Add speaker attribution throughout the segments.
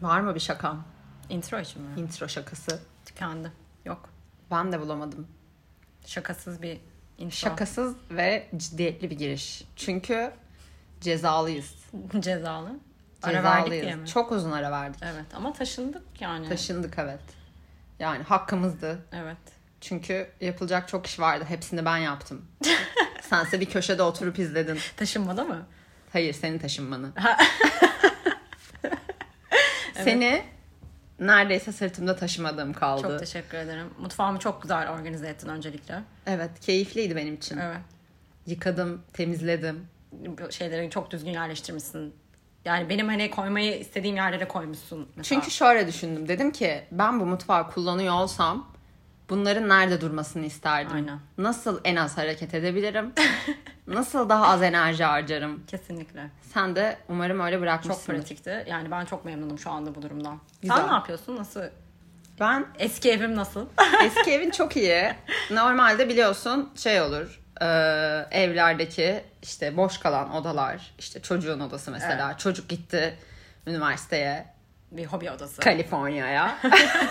Speaker 1: Var mı bir şakam?
Speaker 2: Intro için mi?
Speaker 1: Intro şakası.
Speaker 2: Tükendi. Yok.
Speaker 1: Ben de bulamadım.
Speaker 2: Şakasız bir intro.
Speaker 1: Şakasız ve ciddiyetli bir giriş. Çünkü cezalıyız.
Speaker 2: Cezalı. Ara verdik diye mi?
Speaker 1: Cezalıyız. Çok uzun ara verdik.
Speaker 2: Evet ama taşındık yani.
Speaker 1: Taşındık evet. Yani hakkımızdı.
Speaker 2: evet.
Speaker 1: Çünkü yapılacak çok iş vardı. Hepsini ben yaptım. Sense bir köşede oturup izledin.
Speaker 2: Taşınmada mı?
Speaker 1: Hayır senin taşınmanı. Seni neredeyse sırtımda taşımadığım kaldı.
Speaker 2: Çok teşekkür ederim. Mutfağımı çok güzel organize ettin öncelikle.
Speaker 1: evet keyifliydi benim için.
Speaker 2: Evet.
Speaker 1: Yıkadım, temizledim.
Speaker 2: Bu şeyleri çok düzgün yerleştirmişsin. Yani benim hani koymayı istediğim yerlere koymuşsun. Mesela.
Speaker 1: Çünkü şöyle düşündüm. Dedim ki ben bu mutfağı kullanıyor olsam bunların nerede durmasını isterdim.
Speaker 2: Aynen.
Speaker 1: Nasıl en az hareket edebilirim? Nasıl daha az enerji harcarım?
Speaker 2: Kesinlikle.
Speaker 1: Sen de umarım öyle
Speaker 2: Çok
Speaker 1: bırakmışsın.
Speaker 2: pratikti. Yani ben çok memnunum şu anda bu durumdan.
Speaker 1: Güzel.
Speaker 2: Sen ne yapıyorsun? Nasıl?
Speaker 1: Ben
Speaker 2: Eski evim nasıl?
Speaker 1: eski evin çok iyi. Normalde biliyorsun şey olur. e, evlerdeki işte boş kalan odalar, işte çocuğun odası mesela. Çocuk gitti üniversiteye,
Speaker 2: bir hobi odası.
Speaker 1: Kaliforniya'ya.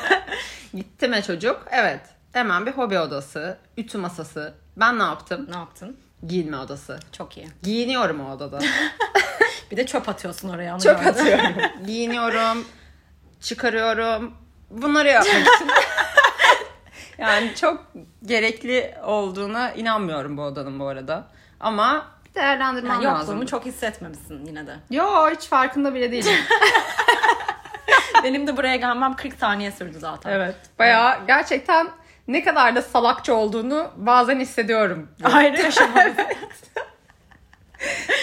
Speaker 1: Gitti mi çocuk? Evet. Hemen bir hobi odası, ütü masası. Ben ne yaptım?
Speaker 2: ne yaptın?
Speaker 1: Giyinme odası.
Speaker 2: Çok iyi.
Speaker 1: Giyiniyorum o odada.
Speaker 2: Bir de çöp atıyorsun oraya. onu
Speaker 1: Çöp
Speaker 2: gördüm.
Speaker 1: atıyorum. Giyiniyorum, çıkarıyorum. Bunları yapmak için. yani çok gerekli olduğuna inanmıyorum bu odanın bu arada. Ama değerlendirmem
Speaker 2: Yani
Speaker 1: lazım.
Speaker 2: yokluğumu çok hissetmemişsin yine de.
Speaker 1: Yo hiç farkında bile değilim.
Speaker 2: Benim de buraya gelmem 40 saniye sürdü zaten.
Speaker 1: Evet. Bayağı gerçekten ne kadar da salakça olduğunu bazen hissediyorum.
Speaker 2: Ayrı yaşamalıyız.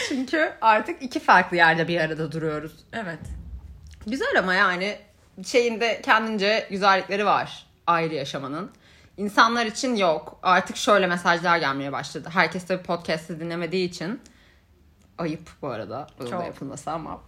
Speaker 1: Çünkü artık iki farklı yerde bir arada duruyoruz.
Speaker 2: evet.
Speaker 1: Güzel ama yani şeyinde kendince güzellikleri var ayrı yaşamanın. İnsanlar için yok. Artık şöyle mesajlar gelmeye başladı. Herkes tabii podcast'ı dinlemediği için ayıp bu arada. Bunu da
Speaker 2: Çok.
Speaker 1: yapılması ama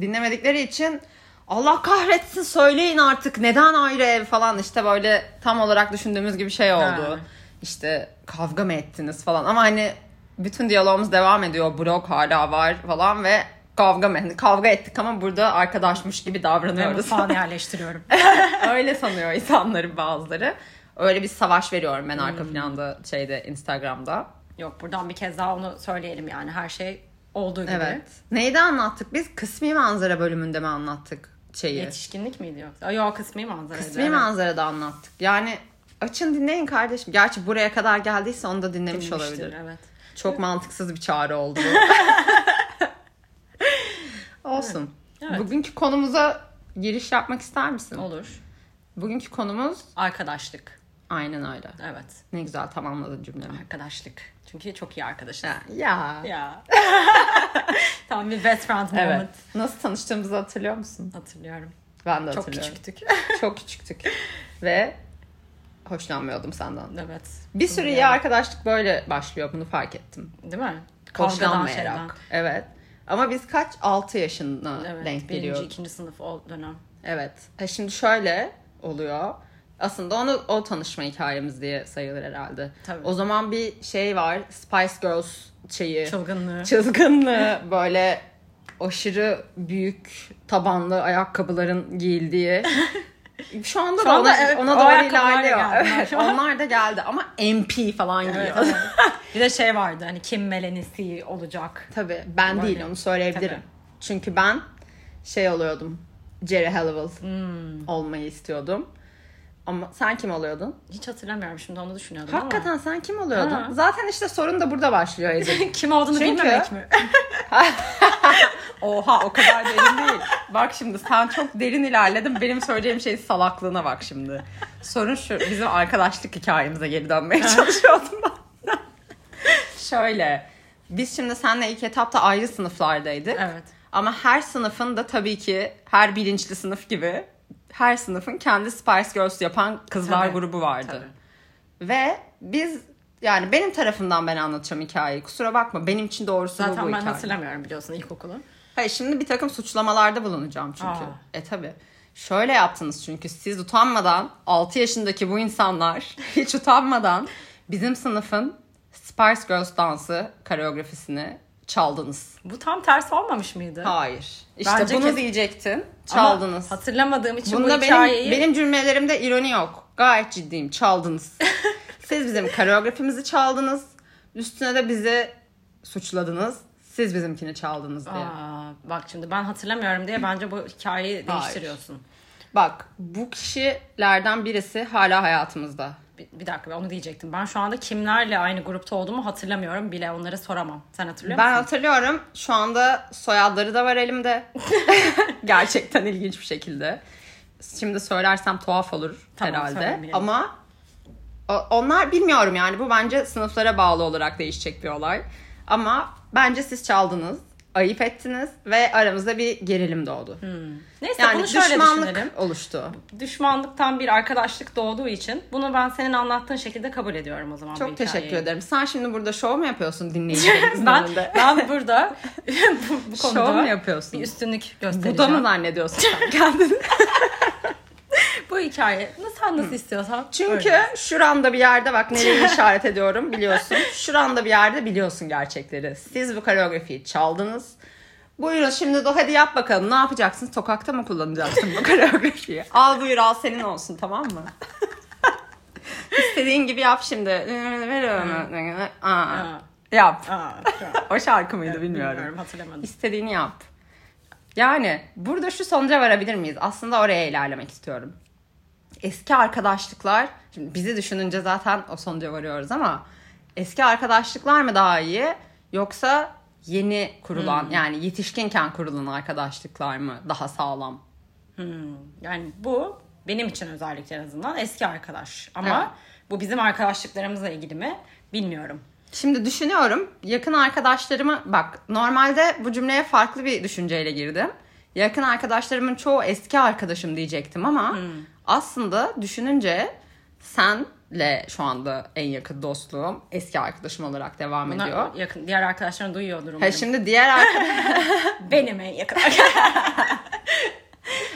Speaker 1: dinlemedikleri için Allah kahretsin söyleyin artık neden ayrı ev falan işte böyle tam olarak düşündüğümüz gibi şey oldu.
Speaker 2: Ha.
Speaker 1: İşte kavga mı ettiniz falan ama hani bütün diyalogumuz devam ediyor. Blog hala var falan ve kavga mı? hani Kavga ettik ama burada arkadaşmış gibi
Speaker 2: Ben
Speaker 1: davranıyoruz.
Speaker 2: mutfağını yerleştiriyorum.
Speaker 1: Öyle sanıyor insanların bazıları. Öyle bir savaş veriyorum ben arka planda şeyde Instagram'da.
Speaker 2: Yok buradan bir kez daha onu söyleyelim yani. Her şey olduğu gibi.
Speaker 1: Evet. Neydi anlattık biz? Kısmi manzara bölümünde mi anlattık şeyi?
Speaker 2: Yetişkinlik miydi yoksa? Yok kısmi manzaraydı.
Speaker 1: Kısmi
Speaker 2: evet.
Speaker 1: manzara da anlattık. Yani açın dinleyin kardeşim. Gerçi buraya kadar geldiyse onu da dinlemiş
Speaker 2: Bilmiştir,
Speaker 1: olabilir.
Speaker 2: Evet.
Speaker 1: Çok mantıksız bir çağrı oldu bu. Olsun.
Speaker 2: Evet.
Speaker 1: Bugünkü konumuza giriş yapmak ister misin?
Speaker 2: Olur.
Speaker 1: Bugünkü konumuz
Speaker 2: Arkadaşlık.
Speaker 1: aynen öyle.
Speaker 2: Evet.
Speaker 1: Ne güzel tamamladın cümlemi.
Speaker 2: Arkadaşlık. Çünkü çok iyi arkadaşız.
Speaker 1: Ya.
Speaker 2: Ya. Tam bir best friend moment.
Speaker 1: Evet. Nasıl tanıştığımızı hatırlıyor musun?
Speaker 2: Hatırlıyorum.
Speaker 1: Ben de
Speaker 2: Çok
Speaker 1: hatırlıyorum.
Speaker 2: küçüktük.
Speaker 1: Çok küçüktük. Ve hoşlanmıyordum senden.
Speaker 2: evet.
Speaker 1: Bir sürü iyi arkadaşlık böyle başlıyor bunu fark ettim.
Speaker 2: Değil mi? Kavgadan şeyden.
Speaker 1: Hoşlanmayarak. Evet. Ama biz kaç? 6 yaşına
Speaker 2: Evet,
Speaker 1: denk
Speaker 2: birinci,
Speaker 1: geliyor.
Speaker 2: ikinci sınıf o dönem.
Speaker 1: Evet. Ha şimdi şöyle oluyor. Aslında onu o tanışma hikayemiz diye sayılır herhalde.
Speaker 2: Tabii.
Speaker 1: O zaman bir şey var. Spice Girls şeyi.
Speaker 2: Çılgınlığı.
Speaker 1: Çılgınlığı. Böyle aşırı büyük tabanlı ayakkabıların giyildiği. Şu anda
Speaker 2: Şu
Speaker 1: da
Speaker 2: anda
Speaker 1: ona,
Speaker 2: evet,
Speaker 1: ona
Speaker 2: o
Speaker 1: doğru
Speaker 2: ayakkabılar
Speaker 1: ilerliyor.
Speaker 2: geldi.
Speaker 1: Evet, onlar da geldi ama MP falan giyiyor.
Speaker 2: Evet, evet. bir de şey vardı hani kim melenisi olacak.
Speaker 1: Tabii ben
Speaker 2: Var
Speaker 1: değil
Speaker 2: ya.
Speaker 1: onu söyleyebilirim.
Speaker 2: Tabii.
Speaker 1: Çünkü ben şey oluyordum. Jerry Halliwell
Speaker 2: Hmm.
Speaker 1: olmayı istiyordum. Ama sen kim oluyordun?
Speaker 2: Hiç hatırlamıyorum şimdi onu düşünüyordum
Speaker 1: Hakikaten sen kim oluyordun?
Speaker 2: Ha.
Speaker 1: Zaten işte sorun da burada başlıyor Ece.
Speaker 2: ama. Kim olduğunu
Speaker 1: Çünkü-
Speaker 2: bilmemek mi?
Speaker 1: Oha o kadar derin değil. Bak şimdi sen çok derin ilerledin. Benim söyleyeceğim şey salaklığına bak şimdi. Sorun şu bizim arkadaşlık hikayemize geri dönmeye çalışıyordum ben. Şöyle biz şimdi seninle ilk etapta ayrı sınıflardaydık.
Speaker 2: Evet.
Speaker 1: Ama her sınıfın da tabii ki her bilinçli sınıf gibi her sınıfın kendi Spice Girls yapan kızlar
Speaker 2: Tabii,
Speaker 1: grubu vardı. Ve biz yani benim tarafından ben anlatacağım hikayeyi. Kusura bakma benim için doğrusu bu, bu
Speaker 2: Zaten ben
Speaker 1: hikaye.
Speaker 2: hatırlamıyorum biliyorsun ilkokulu.
Speaker 1: Hayır şimdi bir takım suçlamalarda bulunacağım çünkü.
Speaker 2: Aa.
Speaker 1: E tabi. Şöyle yaptınız çünkü siz utanmadan 6 yaşındaki bu insanlar hiç utanmadan bizim sınıfın Spice Girls dansı koreografisini Çaldınız.
Speaker 2: Bu tam tersi olmamış mıydı?
Speaker 1: Hayır. İşte
Speaker 2: Bence
Speaker 1: bunu
Speaker 2: kes-
Speaker 1: diyecektin.
Speaker 2: Ama
Speaker 1: Çaldınız.
Speaker 2: hatırlamadığım için
Speaker 1: Bunda
Speaker 2: bu
Speaker 1: benim,
Speaker 2: hikayeyi...
Speaker 1: benim cümlelerimde ironi yok. Gayet ciddiyim. Çaldınız. Siz bizim koreografimizi çaldınız. Üstüne de bizi suçladınız. Siz bizimkini çaldınız diye.
Speaker 2: Aa, bak şimdi ben hatırlamıyorum diye bence bu hikayeyi değiştiriyorsun.
Speaker 1: Bak bu kişilerden birisi hala hayatımızda.
Speaker 2: Bir, bir dakika ben onu diyecektim. Ben şu anda kimlerle aynı grupta olduğumu hatırlamıyorum bile onlara soramam. Sen hatırlıyor
Speaker 1: Ben
Speaker 2: musun?
Speaker 1: hatırlıyorum. Şu anda soyadları da var elimde. Gerçekten ilginç bir şekilde. Şimdi söylersem tuhaf olur
Speaker 2: Tamam,
Speaker 1: herhalde.
Speaker 2: söylemeyelim.
Speaker 1: Ama o- onlar bilmiyorum yani. Bu bence sınıflara bağlı olarak değişecek bir olay. Ama bence siz çaldınız. Ayıp ettiniz ve aramızda bir gerilim doğdu.
Speaker 2: Neyse
Speaker 1: Yani
Speaker 2: Hmm. bunu şöyle
Speaker 1: düşmanlık
Speaker 2: düşünelim.
Speaker 1: oluştu.
Speaker 2: Düşmanlıktan bir arkadaşlık doğduğu için bunu ben senin anlattığın şekilde kabul ediyorum o zaman. bu
Speaker 1: Çok
Speaker 2: hikayeyi.
Speaker 1: teşekkür ederim. Sen şimdi burada şov mu yapıyorsun dinleyicilerimizin
Speaker 2: Ben,
Speaker 1: önünde?
Speaker 2: ben burada bu, bu
Speaker 1: Şov
Speaker 2: konuda
Speaker 1: mu yapıyorsun?
Speaker 2: bir üstünlük göstereceğim.
Speaker 1: Buda mı zannediyorsun sen kendini?
Speaker 2: Bu hikaye nasıl sen nasıl istiyorsan.
Speaker 1: Çünkü
Speaker 2: öyle.
Speaker 1: şuranda bir yerde bak nereye işaret ediyorum biliyorsun. Şuranda bir yerde biliyorsun gerçekleri. Siz bu koreografiyi çaldınız. Buyurun şimdi de hadi yap bakalım ne yapacaksın? Sokakta mı kullanacaksın bu koreografiyi? al buyur al senin olsun tamam mı? İstediğin gibi yap şimdi. Aa,
Speaker 2: Ha,
Speaker 1: yap.
Speaker 2: ha, ha.
Speaker 1: O şarkı mıydı bilmiyorum.
Speaker 2: Bilmiyorum hatırlamadım.
Speaker 1: İstediğini yap. Yani burada şu sonuca varabilir miyiz? Aslında oraya ilerlemek istiyorum. Eski arkadaşlıklar, şimdi bizi düşününce zaten o sonuca varıyoruz ama eski arkadaşlıklar mı daha iyi yoksa yeni kurulan yani yetişkinken kurulan arkadaşlıklar mı daha sağlam?
Speaker 2: Yani bu benim için özellikle en azından eski arkadaş. Ama
Speaker 1: Evet.
Speaker 2: bu bizim arkadaşlıklarımızla ilgili mi bilmiyorum.
Speaker 1: Şimdi düşünüyorum yakın arkadaşlarımı bak normalde bu cümleye farklı bir düşünceyle girdim. Yakın arkadaşlarımın çoğu eski arkadaşım diyecektim ama aslında düşününce senle şu anda en yakın dostluğum eski arkadaşım olarak devam
Speaker 2: Bunlar
Speaker 1: ediyor.
Speaker 2: yakın diğer arkadaşlarım duyuyordur umarım.
Speaker 1: Ha, şimdi diğer arkadaş
Speaker 2: Benim en yakın arkadaşım.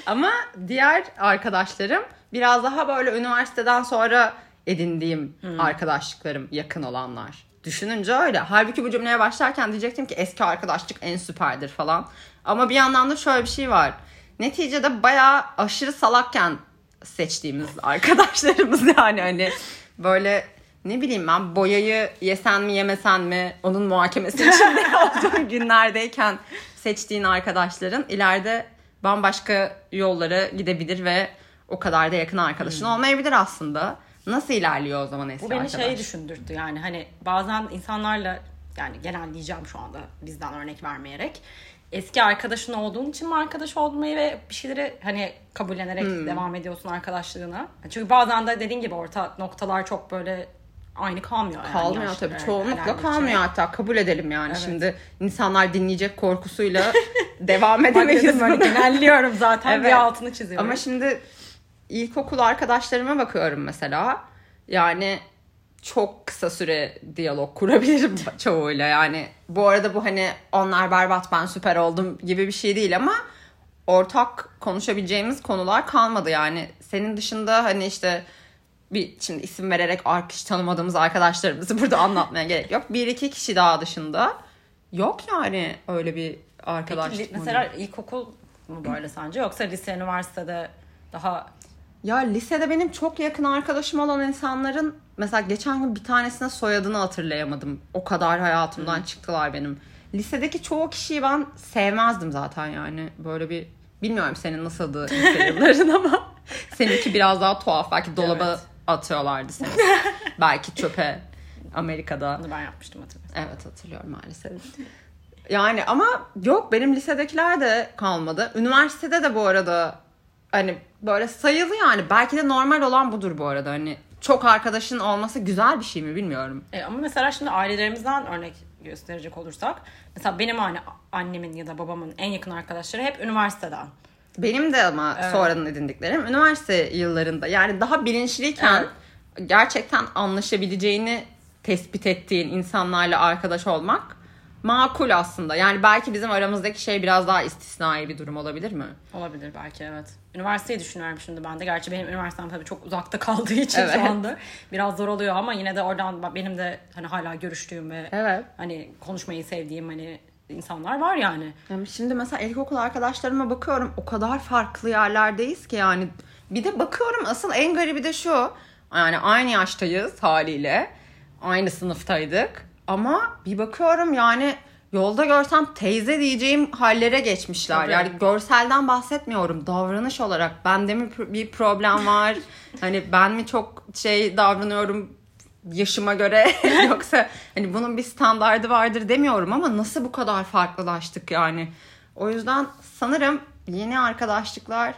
Speaker 1: Ama diğer arkadaşlarım biraz daha böyle üniversiteden sonra edindiğim arkadaşlıklarım yakın olanlar. Düşününce öyle. Halbuki bu cümleye başlarken diyecektim ki eski arkadaşlık en süperdir falan. Ama bir yandan da şöyle bir şey var. Neticede bayağı aşırı salakken seçtiğimiz arkadaşlarımız yani hani böyle ne bileyim ben boyayı yesen mi yemesen mi onun muhakemesi içinde olduğun günlerdeyken seçtiğin arkadaşların ileride bambaşka yollara gidebilir ve o kadar da yakın arkadaşın olmayabilir aslında. Nasıl ilerliyor o zaman eski
Speaker 2: Bu beni
Speaker 1: arkadaş?
Speaker 2: şey düşündürttü yani hani bazen insanlarla yani genel diyeceğim şu anda bizden örnek vermeyerek eski arkadaşın olduğun için mi arkadaş olmayı ve bir şeyleri hani kabullenerek
Speaker 1: Hmm.
Speaker 2: devam ediyorsun arkadaşlığına. Çünkü bazen de dediğin gibi orta noktalar çok böyle aynı kalmıyor. yani e,
Speaker 1: Kalmıyor
Speaker 2: yaşlar
Speaker 1: tabii.
Speaker 2: iler-
Speaker 1: Çoğunlukla
Speaker 2: ilerledikçe.
Speaker 1: kalmıyor hatta. Kabul edelim yani. Şimdi insanlar dinleyecek korkusuyla devam edemeyiz.
Speaker 2: Dedim hani böyle
Speaker 1: buna.
Speaker 2: genelliyorum zaten
Speaker 1: Evet.
Speaker 2: bir altını çiziyorum.
Speaker 1: Ama şey şimdi ilkokul arkadaşlarıma bakıyorum mesela. Yani çok kısa süre diyalog kurabilirim çoğuyla. Yani bu arada bu hani onlar berbat ben süper oldum gibi bir şey değil ama ortak konuşabileceğimiz konular kalmadı yani. Senin dışında hani işte bir şimdi isim vererek ar- hiç tanımadığımız arkadaşlarımızı burada anlatmaya gerek yok. Bir iki kişi daha dışında yok yani öyle bir arkadaşlık.
Speaker 2: Peki, li-
Speaker 1: modeli.
Speaker 2: mesela ilkokul mu böyle sence yoksa lise üniversitede daha
Speaker 1: Ya lisede benim çok yakın arkadaşım olan insanların mesela geçen gün bir tanesine soyadını hatırlayamadım. O kadar hayatımdan çıktılar benim. Lisedeki çoğu kişiyi ben sevmezdim zaten yani. Böyle bir bilmiyorum senin nasıldı lise yılların ama seninki biraz daha tuhaf. Belki dolaba
Speaker 2: Evet.
Speaker 1: atıyorlardı seni. Belki çöpe Amerika'da.
Speaker 2: bunu ben yapmıştım hatırlıyorum.
Speaker 1: Evet hatırlıyorum maalesef. Yani ama yok benim lisedekiler de kalmadı. Üniversitede de bu arada hani böyle sayılı yani. Belki de normal olan budur bu arada. Hani çok arkadaşın olması güzel bir şey mi bilmiyorum.
Speaker 2: E, ama mesela şimdi ailelerimizden örnek gösterecek olursak mesela benim anne, annemin ya da babamın en yakın arkadaşları hep üniversiteden.
Speaker 1: Benim de ama sonradan edindiklerim üniversite yıllarında yani daha bilinçliyken gerçekten anlaşabileceğini tespit ettiğin insanlarla arkadaş olmak makul aslında. Yani belki bizim aramızdaki şey biraz daha istisnai bir durum olabilir mi?
Speaker 2: Olabilir belki evet. Üniversiteyi düşünüyorum şimdi ben de. Gerçi benim üniversitem tabii çok uzakta kaldığı için
Speaker 1: Evet.
Speaker 2: şu anda biraz zor oluyor ama yine de oradan benim de hani hala görüştüğüm ve
Speaker 1: Evet.
Speaker 2: hani konuşmayı sevdiğim hani insanlar var yani.
Speaker 1: Yani şimdi mesela ilkokul arkadaşlarıma bakıyorum o kadar farklı yerlerdeyiz ki yani bir de bakıyorum asıl en garibi de şu yani aynı yaştayız haliyle aynı sınıftaydık ama bir bakıyorum yani yolda görsem teyze diyeceğim hallere geçmişler
Speaker 2: Tabii.
Speaker 1: yani görselden bahsetmiyorum davranış olarak bende mi pr- bir problem var hani ben mi çok şey davranıyorum yaşıma göre yoksa hani bunun bir standardı vardır demiyorum ama nasıl bu kadar farklılaştık yani. O yüzden sanırım yeni arkadaşlıklar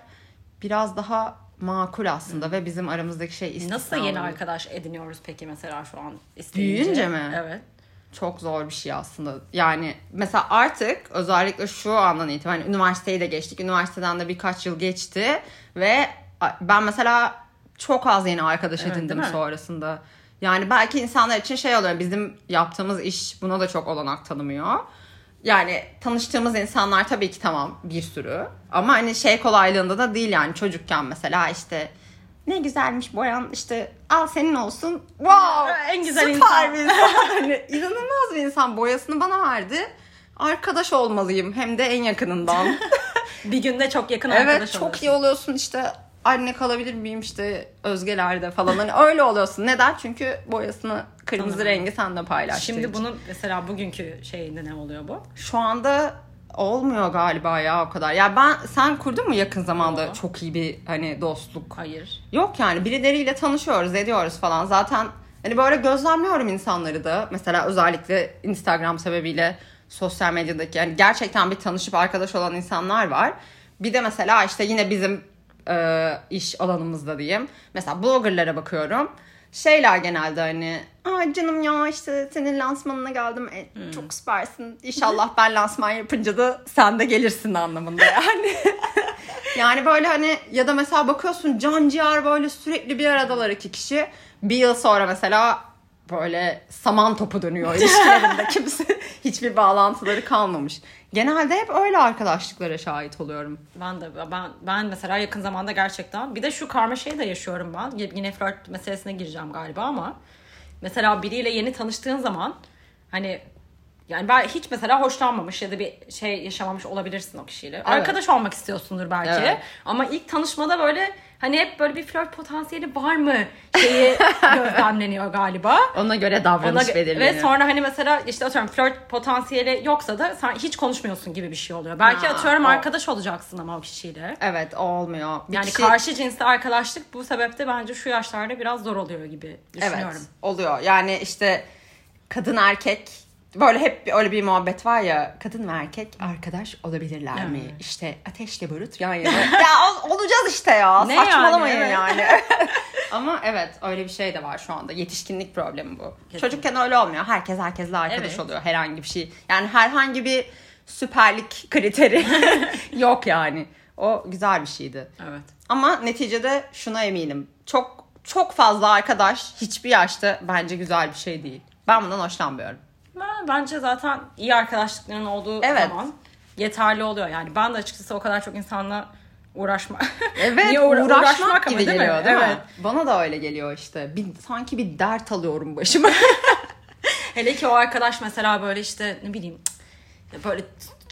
Speaker 1: biraz daha makul aslında ve bizim aramızdaki şey istisna
Speaker 2: Nasıl yeni
Speaker 1: olabilir.
Speaker 2: arkadaş ediniyoruz peki mesela şu an isteyince?
Speaker 1: Büyüyünce mi?
Speaker 2: Evet.
Speaker 1: Çok zor bir şey aslında. Yani mesela artık özellikle şu andan itibaren hani üniversiteyi de geçtik. Üniversiteden de birkaç yıl geçti ve a- ben mesela çok az yeni arkadaş
Speaker 2: Evet,
Speaker 1: edindim
Speaker 2: değil mi?
Speaker 1: sonrasında. Yani belki insanlar için şey oluyor. Bizim yaptığımız iş buna da çok olanak tanımıyor. Yani tanıştığımız insanlar tabii ki tamam bir sürü. Ama hani şey kolaylığında da değil yani çocukken mesela işte ne güzelmiş Boyan işte al senin olsun. Wow!
Speaker 2: En güzel
Speaker 1: süper
Speaker 2: insan.
Speaker 1: bir insan. Hani inanılmaz bir insan. Boyasını bana verdi. Arkadaş olmalıyım hem de en yakınından.
Speaker 2: Bir günde çok yakın
Speaker 1: evet
Speaker 2: arkadaş
Speaker 1: çok
Speaker 2: olursun.
Speaker 1: iyi oluyorsun işte anne kalabilir miyim işte Özgeler'de falan. Hani öyle oluyorsun. Neden? Çünkü boyasını kırmızı
Speaker 2: Tamam.
Speaker 1: rengi senle paylaştığın için.
Speaker 2: Şimdi bunun mesela bugünkü şeyinde ne oluyor bu?
Speaker 1: Şu anda olmuyor galiba ya o kadar. Ya ben sen kurdun mu yakın zamanda
Speaker 2: Yo.
Speaker 1: çok iyi bir hani dostluk?
Speaker 2: Hayır.
Speaker 1: Yok yani birileriyle tanışıyoruz, ediyoruz falan. Zaten hani böyle gözlemliyorum insanları da. Mesela özellikle Instagram sebebiyle sosyal medyadaki yani gerçekten bir tanışıp arkadaş olan insanlar var. Bir de mesela işte yine bizim e, iş alanımızda diyeyim. Mesela bloggerlara bakıyorum. Şeyler genelde hani Ay canım ya işte senin lansmanına geldim. E, Çok süpersin. İnşallah ben lansman yapınca da sen de gelirsin anlamında yani. Yani böyle hani ya da mesela bakıyorsun can ciğer böyle sürekli bir aradalar iki kişi. Bir yıl sonra mesela böyle saman topu dönüyor ilişkilerinde kimse hiçbir bağlantıları kalmamış. Genelde hep öyle arkadaşlıklara şahit oluyorum.
Speaker 2: Ben de ben ben mesela yakın zamanda gerçekten bir de şu karmaşayı da yaşıyorum ben. Y- Yine flört meselesine gireceğim galiba ama mesela biriyle yeni tanıştığın zaman hani yani ben hiç mesela hoşlanmamış ya da bir şey yaşamamış olabilirsin o kişiyle. Arkadaş olmak istiyorsundur belki.
Speaker 1: Evet.
Speaker 2: Ama ilk tanışmada böyle hani hep böyle bir flört potansiyeli var mı şeyi gözlemleniyor galiba.
Speaker 1: Ona göre
Speaker 2: Ona
Speaker 1: davranış
Speaker 2: gö-
Speaker 1: belirleniyor.
Speaker 2: ve sonra hani mesela işte atıyorum flört potansiyeli yoksa da sen hiç konuşmuyorsun gibi bir şey oluyor. Belki
Speaker 1: Ha,
Speaker 2: atıyorum
Speaker 1: o-
Speaker 2: arkadaş olacaksın ama o kişiyle.
Speaker 1: Evet o olmuyor. Bir
Speaker 2: Yani
Speaker 1: kişi-
Speaker 2: karşı cinsli arkadaşlık bu sebepte bence şu yaşlarda biraz zor oluyor gibi
Speaker 1: Evet
Speaker 2: düşünüyorum.
Speaker 1: oluyor. Yani işte kadın erkek böyle hep bir- öyle bir muhabbet var ya kadın ve erkek arkadaş olabilirler mi?
Speaker 2: Evet.
Speaker 1: İşte ateşle barut yan yana. ya ol- olacağız işte ya.
Speaker 2: Ne
Speaker 1: Saçmalamayın
Speaker 2: yani,
Speaker 1: yani. Ama evet öyle bir şey de var şu anda. Yetişkinlik problemi bu.
Speaker 2: Kesinlikle.
Speaker 1: Çocukken öyle olmuyor. Herkes herkesle arkadaş
Speaker 2: Evet.
Speaker 1: oluyor herhangi bir şey. Yani herhangi bir süperlik kriteri yok yani. O güzel bir şeydi.
Speaker 2: Evet.
Speaker 1: Ama neticede şuna eminim. Çok çok fazla arkadaş hiçbir yaşta bence güzel bir şey değil. Ben bundan hoşlanmıyorum.
Speaker 2: Ben- Bence zaten iyi arkadaşlıkların olduğu
Speaker 1: Evet.
Speaker 2: zaman yeterli oluyor. Yani ben de açıkçası o kadar çok insanla uğraşma.
Speaker 1: Evet,
Speaker 2: Niye uğra-
Speaker 1: uğraşmak,
Speaker 2: uğraşmak ama
Speaker 1: gibi
Speaker 2: değil mi?
Speaker 1: geliyor değil mi?
Speaker 2: Evet.
Speaker 1: Bana da öyle geliyor işte. Bir, sanki bir dert alıyorum başıma.
Speaker 2: Hele ki o arkadaş mesela böyle işte ne bileyim cık, böyle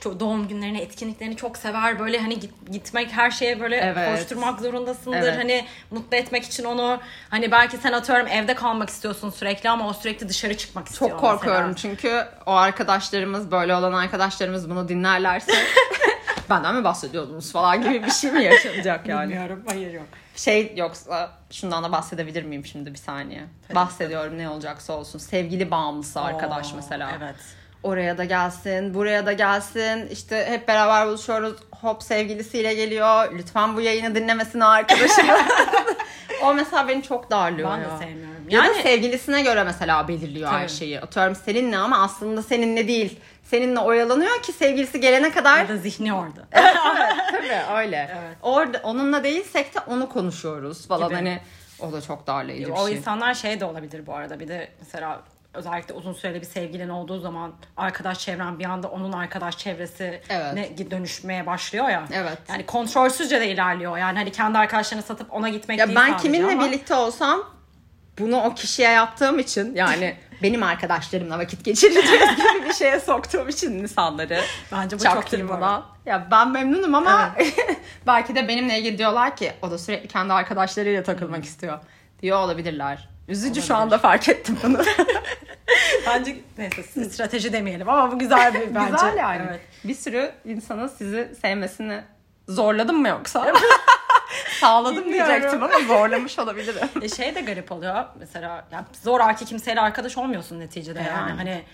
Speaker 2: çok doğum günlerini, etkinliklerini çok sever. Böyle hani git- gitmek her şeye böyle
Speaker 1: Evet.
Speaker 2: koşturmak zorundasındır.
Speaker 1: Evet.
Speaker 2: Hani mutlu etmek için onu hani belki sen atıyorum evde kalmak istiyorsun sürekli ama o sürekli dışarı çıkmak istiyor.
Speaker 1: Çok korkuyorum
Speaker 2: mesela.
Speaker 1: çünkü o arkadaşlarımız böyle olan arkadaşlarımız bunu dinlerlerse benden mi bahsediyordunuz falan gibi bir şey mi yaşanacak yani?
Speaker 2: Bilmiyorum. Hayır yok.
Speaker 1: Şey yoksa şundan da bahsedebilir miyim şimdi bir saniye?
Speaker 2: Tabii.
Speaker 1: Bahsediyorum ne olacaksa olsun. Sevgili bağımlısı arkadaş
Speaker 2: Oo,
Speaker 1: mesela.
Speaker 2: Evet.
Speaker 1: Oraya da gelsin, buraya da gelsin. İşte hep beraber buluşuyoruz. Hop sevgilisiyle geliyor. Lütfen bu yayını dinlemesin arkadaşım. o mesela beni çok darlıyor
Speaker 2: Ben
Speaker 1: ya.
Speaker 2: de sevmiyorum.
Speaker 1: Ya
Speaker 2: Yani
Speaker 1: da sevgilisine göre mesela belirliyor her
Speaker 2: Tabii.
Speaker 1: şeyi. Atıyorum seninle ama aslında seninle değil. Seninle oyalanıyor ki sevgilisi gelene kadar
Speaker 2: ya da zihni orada.
Speaker 1: Tabii öyle.
Speaker 2: Evet.
Speaker 1: Orada onunla değilsek de onu konuşuyoruz falan
Speaker 2: Gibi.
Speaker 1: hani o da çok darlayıcı bir
Speaker 2: o
Speaker 1: şey.
Speaker 2: insanlar şey de olabilir bu arada. Bir de mesela özellikle uzun süreli bir sevgilin olduğu zaman arkadaş çevren bir anda onun arkadaş çevresi
Speaker 1: Evet.
Speaker 2: ne dönüşmeye başlıyor ya.
Speaker 1: Evet.
Speaker 2: Yani kontrolsüzce de ilerliyor. Yani hani kendi arkadaşlarını satıp ona gitmek
Speaker 1: Ya
Speaker 2: değil
Speaker 1: ben
Speaker 2: sadece
Speaker 1: kiminle
Speaker 2: ama-
Speaker 1: birlikte olsam bunu o kişiye yaptığım için yani benim arkadaşlarımla vakit geçireceğiz gibi bir şeye soktuğum için insanları
Speaker 2: Bence bu çok
Speaker 1: çaktım
Speaker 2: iyi bu
Speaker 1: buna. Ya ben memnunum ama belki de benimle ilgili diyorlar ki o da sürekli kendi arkadaşlarıyla takılmak istiyor diyor olabilirler. Üzücü şu anda fark ettim bunu.
Speaker 2: Bence neyse strateji demeyelim ama bu güzel bir bence.
Speaker 1: Güzel yani.
Speaker 2: Evet.
Speaker 1: Bir sürü insanın sizi sevmesini zorladım mı yoksa? Sağladım
Speaker 2: Bilmiyorum.
Speaker 1: diyecektim ama zorlamış olabilirim.
Speaker 2: E şey de garip oluyor mesela ya zoraki kimseyle arkadaş olmuyorsun neticede yani.
Speaker 1: Yani.
Speaker 2: hani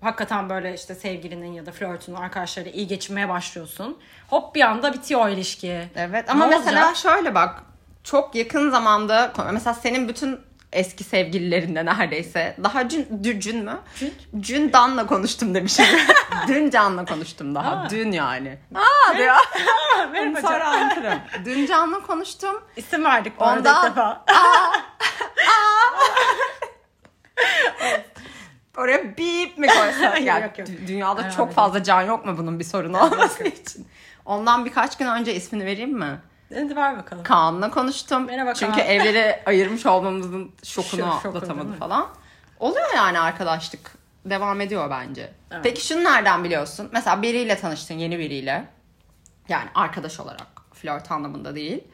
Speaker 2: hakikaten böyle işte sevgilinin ya da flörtünün arkadaşlarıyla iyi geçinmeye başlıyorsun. Hop bir anda bitiyor o ilişki.
Speaker 1: Evet ama
Speaker 2: Ne
Speaker 1: mesela
Speaker 2: olacak?
Speaker 1: şöyle bak çok yakın zamanda mesela senin bütün eski sevgililerinde neredeyse daha dün, dün, dün mü?
Speaker 2: Dün.
Speaker 1: Dan'la konuştum demişim. dün Can'la konuştum daha.
Speaker 2: Aa.
Speaker 1: Dün yani. Aa diyor.
Speaker 2: Merhaba
Speaker 1: Sonra
Speaker 2: canım.
Speaker 1: anlatırım. Dün Can'la konuştum.
Speaker 2: İsim verdik bu arada
Speaker 1: Ondan-
Speaker 2: ilk defa.
Speaker 1: Oraya bip mi koysak? Yani
Speaker 2: Yok, yok.
Speaker 1: dü- dünyada
Speaker 2: Devam
Speaker 1: çok
Speaker 2: edelim.
Speaker 1: fazla can yok mu bunun bir sorunu olması için? Ondan birkaç gün önce ismini vereyim mi?
Speaker 2: Hadi ver bakalım.
Speaker 1: Kaan'la konuştum.
Speaker 2: Merhaba Kaan.
Speaker 1: Çünkü evleri ayırmış olmamızın şokunu
Speaker 2: Şu- şoku,
Speaker 1: atlatamadı
Speaker 2: değil mi?
Speaker 1: falan. Oluyor yani arkadaşlık. Devam ediyor bence.
Speaker 2: Evet.
Speaker 1: Peki şunu nereden biliyorsun? Mesela biriyle tanıştın yeni biriyle. Yani arkadaş olarak flört anlamında değil.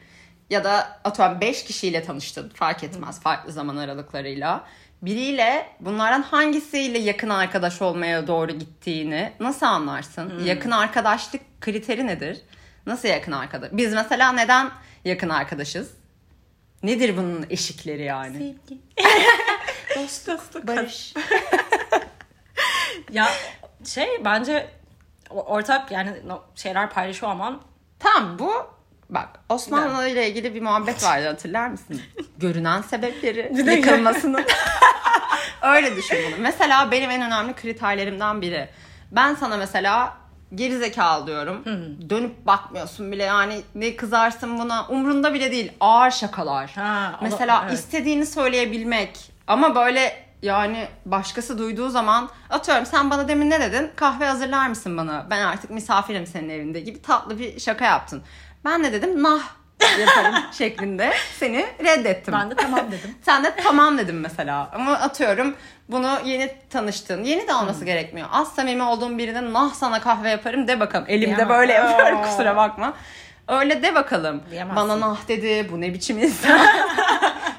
Speaker 1: Ya da atıyorum 5 kişiyle tanıştın fark etmez farklı zaman aralıklarıyla. Biriyle bunlardan hangisiyle yakın arkadaş olmaya doğru gittiğini nasıl anlarsın? Yakın arkadaşlık kriteri nedir? Nasıl yakın arkadaş? Biz mesela neden yakın arkadaşız? Nedir bunun eşikleri yani?
Speaker 2: Sevgi. Dostluk.
Speaker 1: Barış.
Speaker 2: Ya şey bence o- ortak yani no- şeyler paylaşıyor aman
Speaker 1: Tamam bu bak Osmanlı ile ilgili bir muhabbet vardı hatırlar mısın? Görünen sebepleri
Speaker 2: de-
Speaker 1: yıkılmasının. Öyle düşün bunu. Mesela benim en önemli kriterlerimden biri. Ben sana mesela gerizekalı diyorum. Dönüp bakmıyorsun bile yani ne kızarsın buna umrunda bile değil. Ağır şakalar.
Speaker 2: Ha, o da-
Speaker 1: mesela
Speaker 2: evet.
Speaker 1: istediğini söyleyebilmek ama böyle yani başkası duyduğu zaman atıyorum sen bana demin ne dedin kahve hazırlar mısın bana ben artık misafirim senin evinde gibi tatlı bir şaka yaptın. Ben ne dedim nah yaparım şeklinde seni reddettim.
Speaker 2: ben de tamam dedim.
Speaker 1: Sen de tamam dedim mesela. Ama atıyorum bunu yeni tanıştın. Yeni de olması gerekmiyor. Az samimi olduğun birine nah sana kahve yaparım de bakalım. Elimde
Speaker 2: Diyemem.
Speaker 1: böyle yapıyorum
Speaker 2: Aa.
Speaker 1: kusura bakma. Öyle de bakalım.
Speaker 2: Diyemezsin.
Speaker 1: Bana nah dedi. Bu ne biçim insan.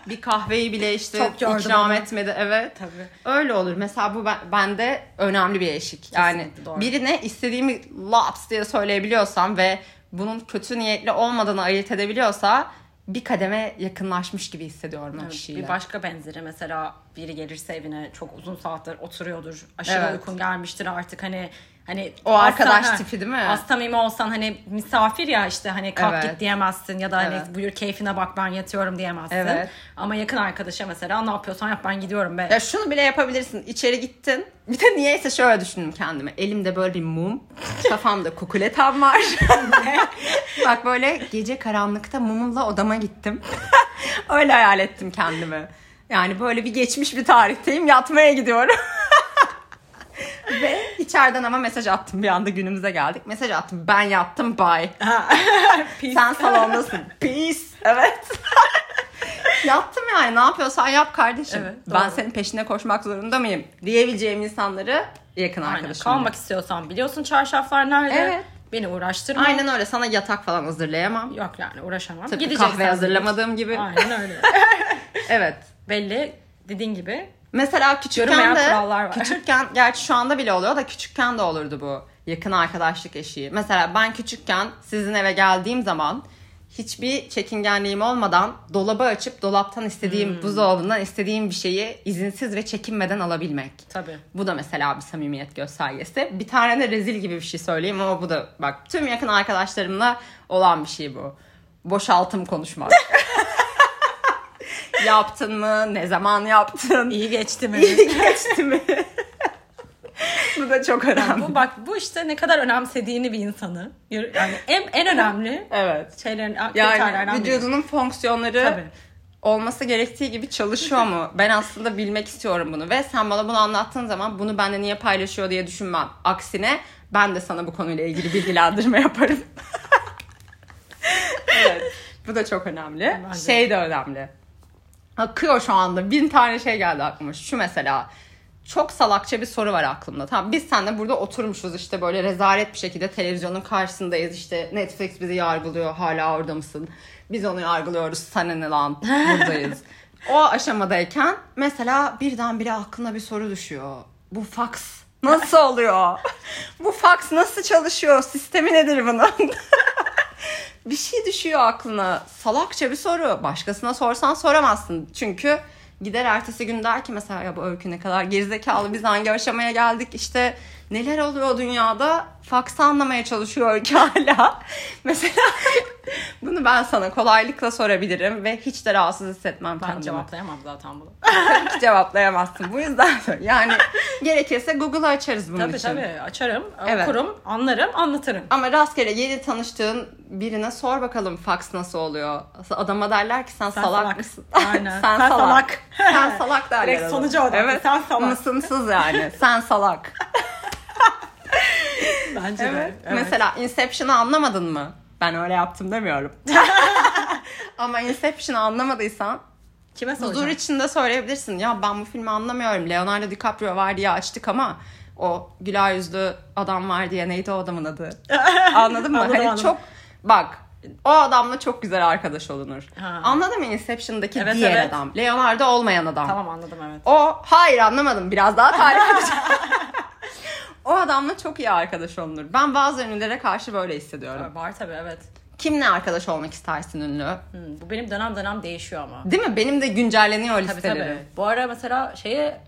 Speaker 1: bir kahveyi bile işte
Speaker 2: Çok gördüm
Speaker 1: ikram
Speaker 2: onu.
Speaker 1: etmedi. Evet.
Speaker 2: Tabii.
Speaker 1: Öyle olur. Mesela bu ben, bende önemli bir eşik. Yani
Speaker 2: Kesinlikle doğru.
Speaker 1: birine istediğimi laps diye söyleyebiliyorsam ve bunun kötü niyetli olmadığını ayırt edebiliyorsa bir kademe yakınlaşmış gibi hissediyorum o kişiyle.
Speaker 2: Bir başka benzeri mesela biri gelirse evine çok uzun saatler oturuyordur. Aşırı
Speaker 1: Evet.
Speaker 2: uykun gelmiştir artık hani hani
Speaker 1: O
Speaker 2: az
Speaker 1: arkadaş
Speaker 2: sana-
Speaker 1: tipi değil mi?
Speaker 2: Az samimi olsan hani misafir ya işte hani kalk
Speaker 1: Evet.
Speaker 2: git diyemezsin ya da hani
Speaker 1: Evet.
Speaker 2: buyur keyfine bak ben yatıyorum diyemezsin.
Speaker 1: Evet.
Speaker 2: Ama yakın arkadaşa mesela ne yapıyorsan yap ben gidiyorum be.
Speaker 1: Ya şunu bile yapabilirsin. İçeri gittin. Bir de niyeyse şöyle düşündüm kendime. Elimde böyle bir mum. Kafamda kukuletam var. Bak böyle gece karanlıkta mumumla odama gittim. Öyle hayal ettim kendimi. Yani böyle bir geçmiş bir tarihteyim. Yatmaya gidiyorum. Ve içeriden ama mesaj attım. Bir anda günümüze geldik. Mesaj attım. Ben yattım. Bye. Sen salondasın. Peace. Evet. Yattım yani ne yapıyorsan yap kardeşim.
Speaker 2: Evet,
Speaker 1: ben
Speaker 2: doğru.
Speaker 1: senin peşine koşmak zorunda mıyım? Diyebileceğim insanları yakın
Speaker 2: Aynen.
Speaker 1: arkadaşım.
Speaker 2: Kalmak istiyorsan biliyorsun çarşaflar nerede.
Speaker 1: Evet.
Speaker 2: Beni uğraştırma.
Speaker 1: Aynen öyle sana yatak falan hazırlayamam.
Speaker 2: Yok yani uğraşamam.
Speaker 1: Tabii
Speaker 2: Gideceksen
Speaker 1: kahve hazırlamadığım
Speaker 2: git.
Speaker 1: gibi.
Speaker 2: Aynen öyle.
Speaker 1: Evet.
Speaker 2: Belli dediğin gibi
Speaker 1: Mesela küçükken
Speaker 2: Görünmeyen
Speaker 1: de
Speaker 2: kurallar var.
Speaker 1: küçükken gerçi şu anda bile oluyor da küçükken de olurdu bu yakın arkadaşlık eşiği. Mesela ben küçükken sizin eve geldiğim zaman hiçbir çekingenliğim olmadan dolabı açıp dolaptan
Speaker 2: Hmm.
Speaker 1: istediğim buzdolabından istediğim bir şeyi izinsiz ve çekinmeden alabilmek.
Speaker 2: tabii.
Speaker 1: Bu da mesela bir samimiyet göstergesi. Bir tane de rezil gibi bir şey söyleyeyim ama bu da bak tüm yakın arkadaşlarımla olan bir şey bu. Boşaltım konuşmak. yaptın mı? Ne zaman yaptın?
Speaker 2: İyi geçti mi?
Speaker 1: İyi geçti mi? bu da çok önemli.
Speaker 2: bu bak bu işte ne kadar önemsediğini bir insanı. Yani en, en önemli
Speaker 1: Evet.
Speaker 2: şeylerin
Speaker 1: Yani
Speaker 2: kriterlerden biri.
Speaker 1: vücudunun fonksiyonları
Speaker 2: Tabii.
Speaker 1: olması gerektiği gibi çalışıyor mu? Ben aslında bilmek istiyorum bunu ve sen bana bunu anlattığın zaman bunu benimle niye paylaşıyor diye düşünmem. Aksine ben de sana bu konuyla ilgili bilgilendirme yaparım. evet. Bu da çok önemli.
Speaker 2: Bence.
Speaker 1: Şey de önemli. Akıyor şu anda. Bin tane şey geldi aklıma. Şu mesela. Çok salakça bir soru var aklımda. Tamam biz seninle burada oturmuşuz işte böyle rezalet bir şekilde televizyonun karşısındayız. İşte Netflix bizi yargılıyor. Hala orada mısın? Biz onu yargılıyoruz. Sana ne lan? Buradayız. o aşamadayken mesela birdenbire aklına bir soru düşüyor. Bu fax nasıl oluyor? Bu fax nasıl çalışıyor? Sistemi nedir bunun? bir şey düşüyor aklına. Salakça bir soru. Başkasına sorsan soramazsın. Çünkü gider ertesi gün der ki mesela ya bu öykü ne kadar gerizekalı biz hangi aşamaya geldik işte neler oluyor dünyada faksı anlamaya çalışıyor öykü hala. mesela bunu ben sana kolaylıkla sorabilirim ve hiç de rahatsız hissetmem
Speaker 2: Ben
Speaker 1: kendimi.
Speaker 2: cevaplayamam zaten bunu.
Speaker 1: Tabii ki cevaplayamazsın. Bu yüzden yani gerekirse Google'ı açarız bunun
Speaker 2: tabii
Speaker 1: için.
Speaker 2: tabii açarım,
Speaker 1: Evet.
Speaker 2: okurum, anlarım, anlatırım.
Speaker 1: Ama rastgele yeni tanıştığın birine sor bakalım fax nasıl oluyor. Adama derler ki sen, salak,
Speaker 2: salak.
Speaker 1: mısın? sen,
Speaker 2: Aynen. Sen
Speaker 1: salak.
Speaker 2: salak.
Speaker 1: sen salak derler.
Speaker 2: Direkt
Speaker 1: adama.
Speaker 2: sonuca odaklı.
Speaker 1: Evet.
Speaker 2: Sen salak.
Speaker 1: Mısınsız yani. sen salak.
Speaker 2: Bence de. Evet.
Speaker 1: Mesela Inception'ı anlamadın mı? Ben öyle yaptım demiyorum. Ama Inception'ı anlamadıysan
Speaker 2: Kime soracağım?
Speaker 1: huzur içinde söyleyebilirsin. Ya ben bu filmi anlamıyorum. Leonardo DiCaprio var diye açtık ama o güler yüzlü adam var diye neydi o adamın adı? Anladın mı?
Speaker 2: Anladım,
Speaker 1: hani
Speaker 2: anladım.
Speaker 1: çok bak o adamla çok güzel arkadaş olunur.
Speaker 2: Ha.
Speaker 1: Anladın mı Inception'daki
Speaker 2: Evet,
Speaker 1: diğer
Speaker 2: evet.
Speaker 1: adam? Leonardo olmayan adam.
Speaker 2: Tamam anladım evet.
Speaker 1: O hayır anlamadım biraz daha tarif edeceğim. o adamla çok iyi arkadaş olunur. Ben bazı ünlülere karşı böyle hissediyorum.
Speaker 2: Var tabii evet.
Speaker 1: Kimle arkadaş olmak istersin ünlü?
Speaker 2: Hmm, bu benim dönem dönem değişiyor ama.
Speaker 1: Değil mi? Benim de güncelleniyor
Speaker 2: Tabii
Speaker 1: listelerim.
Speaker 2: tabii. Bu ara mesela şeye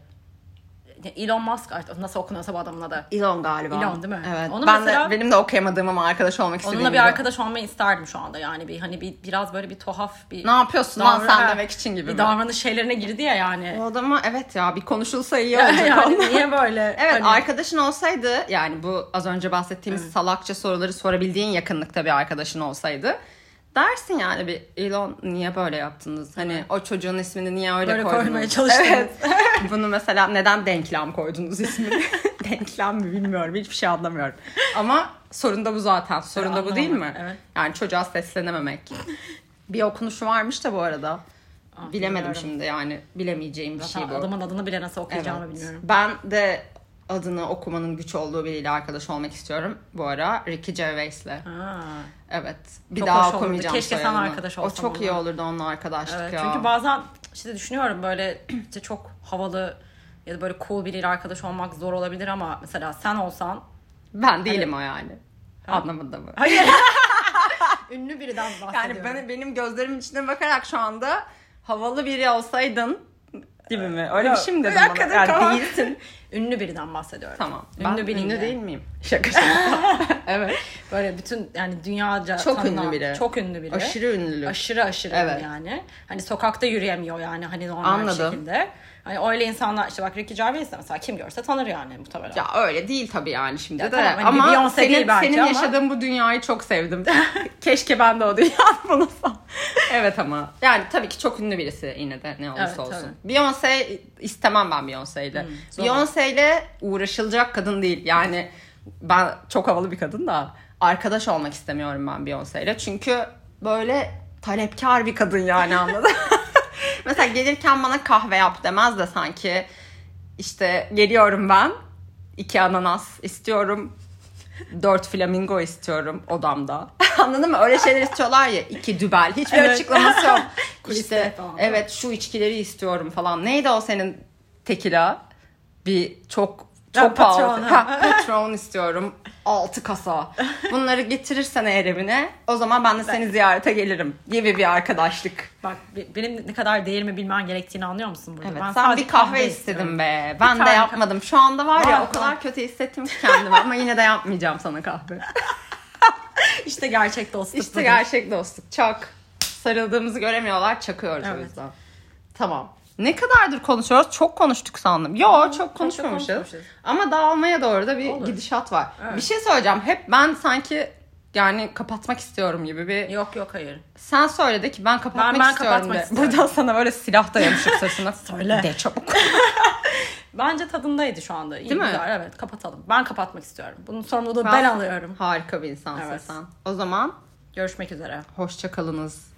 Speaker 2: Elon Musk artık nasıl okunuyorsa bu adamın adı.
Speaker 1: Elon galiba.
Speaker 2: Elon değil mi?
Speaker 1: Evet.
Speaker 2: Onu
Speaker 1: ben
Speaker 2: mesela-
Speaker 1: de, benim de okuyamadığım ama arkadaş olmak istediğim
Speaker 2: Onunla bir
Speaker 1: biri.
Speaker 2: arkadaş olmayı isterdim şu anda. Yani bir hani bir biraz böyle bir tuhaf bir
Speaker 1: Ne yapıyorsun lan
Speaker 2: davran-
Speaker 1: sen
Speaker 2: Ha,
Speaker 1: demek için gibi
Speaker 2: bir
Speaker 1: mi?
Speaker 2: davranış şeylerine girdi ya yani.
Speaker 1: O adama evet ya bir konuşulsa iyi olacak.
Speaker 2: yani
Speaker 1: onunla.
Speaker 2: niye böyle?
Speaker 1: Evet
Speaker 2: Hani-
Speaker 1: arkadaşın olsaydı yani bu az önce bahsettiğimiz salakça soruları sorabildiğin yakınlıkta bir arkadaşın olsaydı dersin yani bir Elon niye böyle yaptınız? Hani o çocuğun ismini niye öyle
Speaker 2: Böyle
Speaker 1: koydunuz?
Speaker 2: koymaya çalıştınız.
Speaker 1: Evet. Bunu mesela neden denklem koydunuz ismini? denklem mi bilmiyorum hiçbir şey anlamıyorum. Ama sorun da bu zaten. Sorun da bu değil mi?
Speaker 2: Anlamadım, evet.
Speaker 1: Yani çocuğa seslenememek. bir okunuşu varmış da bu arada.
Speaker 2: Ah,
Speaker 1: Bilemedim
Speaker 2: bilmiyorum.
Speaker 1: şimdi yani bilemeyeceğim bir şey
Speaker 2: Zaten
Speaker 1: bu.
Speaker 2: adamın adını bile nasıl okuyacağımı
Speaker 1: Evet.
Speaker 2: bilmiyorum.
Speaker 1: Ben de adını okumanın güç olduğu biriyle arkadaş olmak istiyorum bu ara. Ricky Gervais'le.
Speaker 2: Ha.
Speaker 1: Evet. Bir
Speaker 2: Çok hoş
Speaker 1: daha
Speaker 2: olurdu.
Speaker 1: okumayacağım
Speaker 2: Keşke sen
Speaker 1: soyadını.
Speaker 2: arkadaş
Speaker 1: O
Speaker 2: olsan
Speaker 1: çok iyi
Speaker 2: onunla.
Speaker 1: olurdu onunla arkadaşlık
Speaker 2: Evet,
Speaker 1: ya.
Speaker 2: çünkü bazen işte düşünüyorum böyle işte çok havalı ya da böyle cool biriyle arkadaş olmak zor olabilir ama mesela sen olsan
Speaker 1: Ben değilim o yani. Anlamında mı?
Speaker 2: ünlü biriden
Speaker 1: Yani
Speaker 2: bahsediyorum.
Speaker 1: ben, benim gözlerimin içine bakarak şu anda havalı biri olsaydın gibi mi? Öyle bir şey mi dedin bana? Yani değil.
Speaker 2: değilsin. ünlü birden bahsediyorum.
Speaker 1: Tamam.
Speaker 2: Ünlü
Speaker 1: ben
Speaker 2: biriyle.
Speaker 1: ünlü değil miyim? Şaka şaka. evet.
Speaker 2: Böyle bütün yani dünyaca
Speaker 1: Çok
Speaker 2: tanınan,
Speaker 1: ünlü biri.
Speaker 2: Çok ünlü biri.
Speaker 1: Aşırı ünlü.
Speaker 2: Aşırı aşırı
Speaker 1: Evet.
Speaker 2: yani. Hani sokakta yürüyemiyor yani hani normal
Speaker 1: Anladım.
Speaker 2: şekilde. Hani öyle insanlar işte bak Ricky Gervais de mesela kim görse tanır yani muhtemelen.
Speaker 1: Ya öyle değil tabii yani şimdi
Speaker 2: Ya
Speaker 1: de.
Speaker 2: tamam, hani
Speaker 1: ama
Speaker 2: bir Beyoncé
Speaker 1: senin,
Speaker 2: değil belki
Speaker 1: senin
Speaker 2: ama-
Speaker 1: yaşadığın bu dünyayı çok sevdim. Keşke ben de o dünyada bulunsa. evet ama yani tabii ki çok ünlü birisi yine de ne olursa
Speaker 2: Evet, Hmm,
Speaker 1: olsun. Beyoncé istemem ben Beyoncé ile.
Speaker 2: zor.
Speaker 1: Beyoncé ile uğraşılacak kadın değil. Yani ben çok havalı bir kadın da arkadaş olmak istemiyorum ben Beyoncé ile. Çünkü böyle talepkar bir kadın yani anladın. Mesela gelirken bana kahve yap demez de sanki işte geliyorum ben. iki ananas istiyorum. Dört flamingo istiyorum odamda. Anladın mı? Öyle şeyler istiyorlar ya. iki dübel. Hiçbir
Speaker 2: Evet.
Speaker 1: açıklaması yok. işte
Speaker 2: Kuliste falan.
Speaker 1: evet şu içkileri istiyorum falan. Neydi o senin tekila? Bir çok
Speaker 2: Ya,
Speaker 1: çok pahalı.
Speaker 2: Patron, ha.
Speaker 1: Ha, patron istiyorum. Altı kasa. Bunları getirirsen eğer evine o zaman ben de seni ziyarete gelirim gibi bir arkadaşlık.
Speaker 2: Bak be- benim ne kadar değerimi bilmen gerektiğini anlıyor musun burada?
Speaker 1: Evet, sen
Speaker 2: Ben sadece
Speaker 1: bir kahve,
Speaker 2: istiyorum.
Speaker 1: istedin be. Ben de
Speaker 2: tane
Speaker 1: yapmadım. Şu anda var ya
Speaker 2: Var,
Speaker 1: o kadar
Speaker 2: var.
Speaker 1: kötü hissettim ki kendimi ama yine de yapmayacağım sana kahve.
Speaker 2: İşte gerçek dostluk.
Speaker 1: İşte
Speaker 2: budur.
Speaker 1: gerçek dostluk. Çak. Sarıldığımızı göremiyorlar. Çakıyoruz o
Speaker 2: Evet.
Speaker 1: yüzden. Tamam. Ne kadardır konuşuyoruz? Çok konuştuk sandım. Yo çok konuşmamışız.
Speaker 2: konuşmamışız.
Speaker 1: Ama dağılmaya doğru da bir
Speaker 2: Olur.
Speaker 1: gidişat var.
Speaker 2: Evet.
Speaker 1: Bir şey söyleyeceğim. Hep ben sanki yani kapatmak istiyorum gibi bir
Speaker 2: Yok yok hayır.
Speaker 1: Sen söyle de ki ben kapatmak
Speaker 2: Ben- ben
Speaker 1: istiyorum
Speaker 2: kapatmak
Speaker 1: de.
Speaker 2: istiyorum.
Speaker 1: Buradan sana böyle silah dayamışım sırtına. söyle. De çabuk.
Speaker 2: Bence tadındaydı şu anda. İyi
Speaker 1: Değil mi?
Speaker 2: güzel, Evet kapatalım. Ben kapatmak istiyorum. Bunun sorumluluğunu
Speaker 1: Ben-
Speaker 2: ben alıyorum.
Speaker 1: Harika bir insansın
Speaker 2: Evet.
Speaker 1: sen. O zaman
Speaker 2: Görüşmek üzere.
Speaker 1: hoşça kalınız.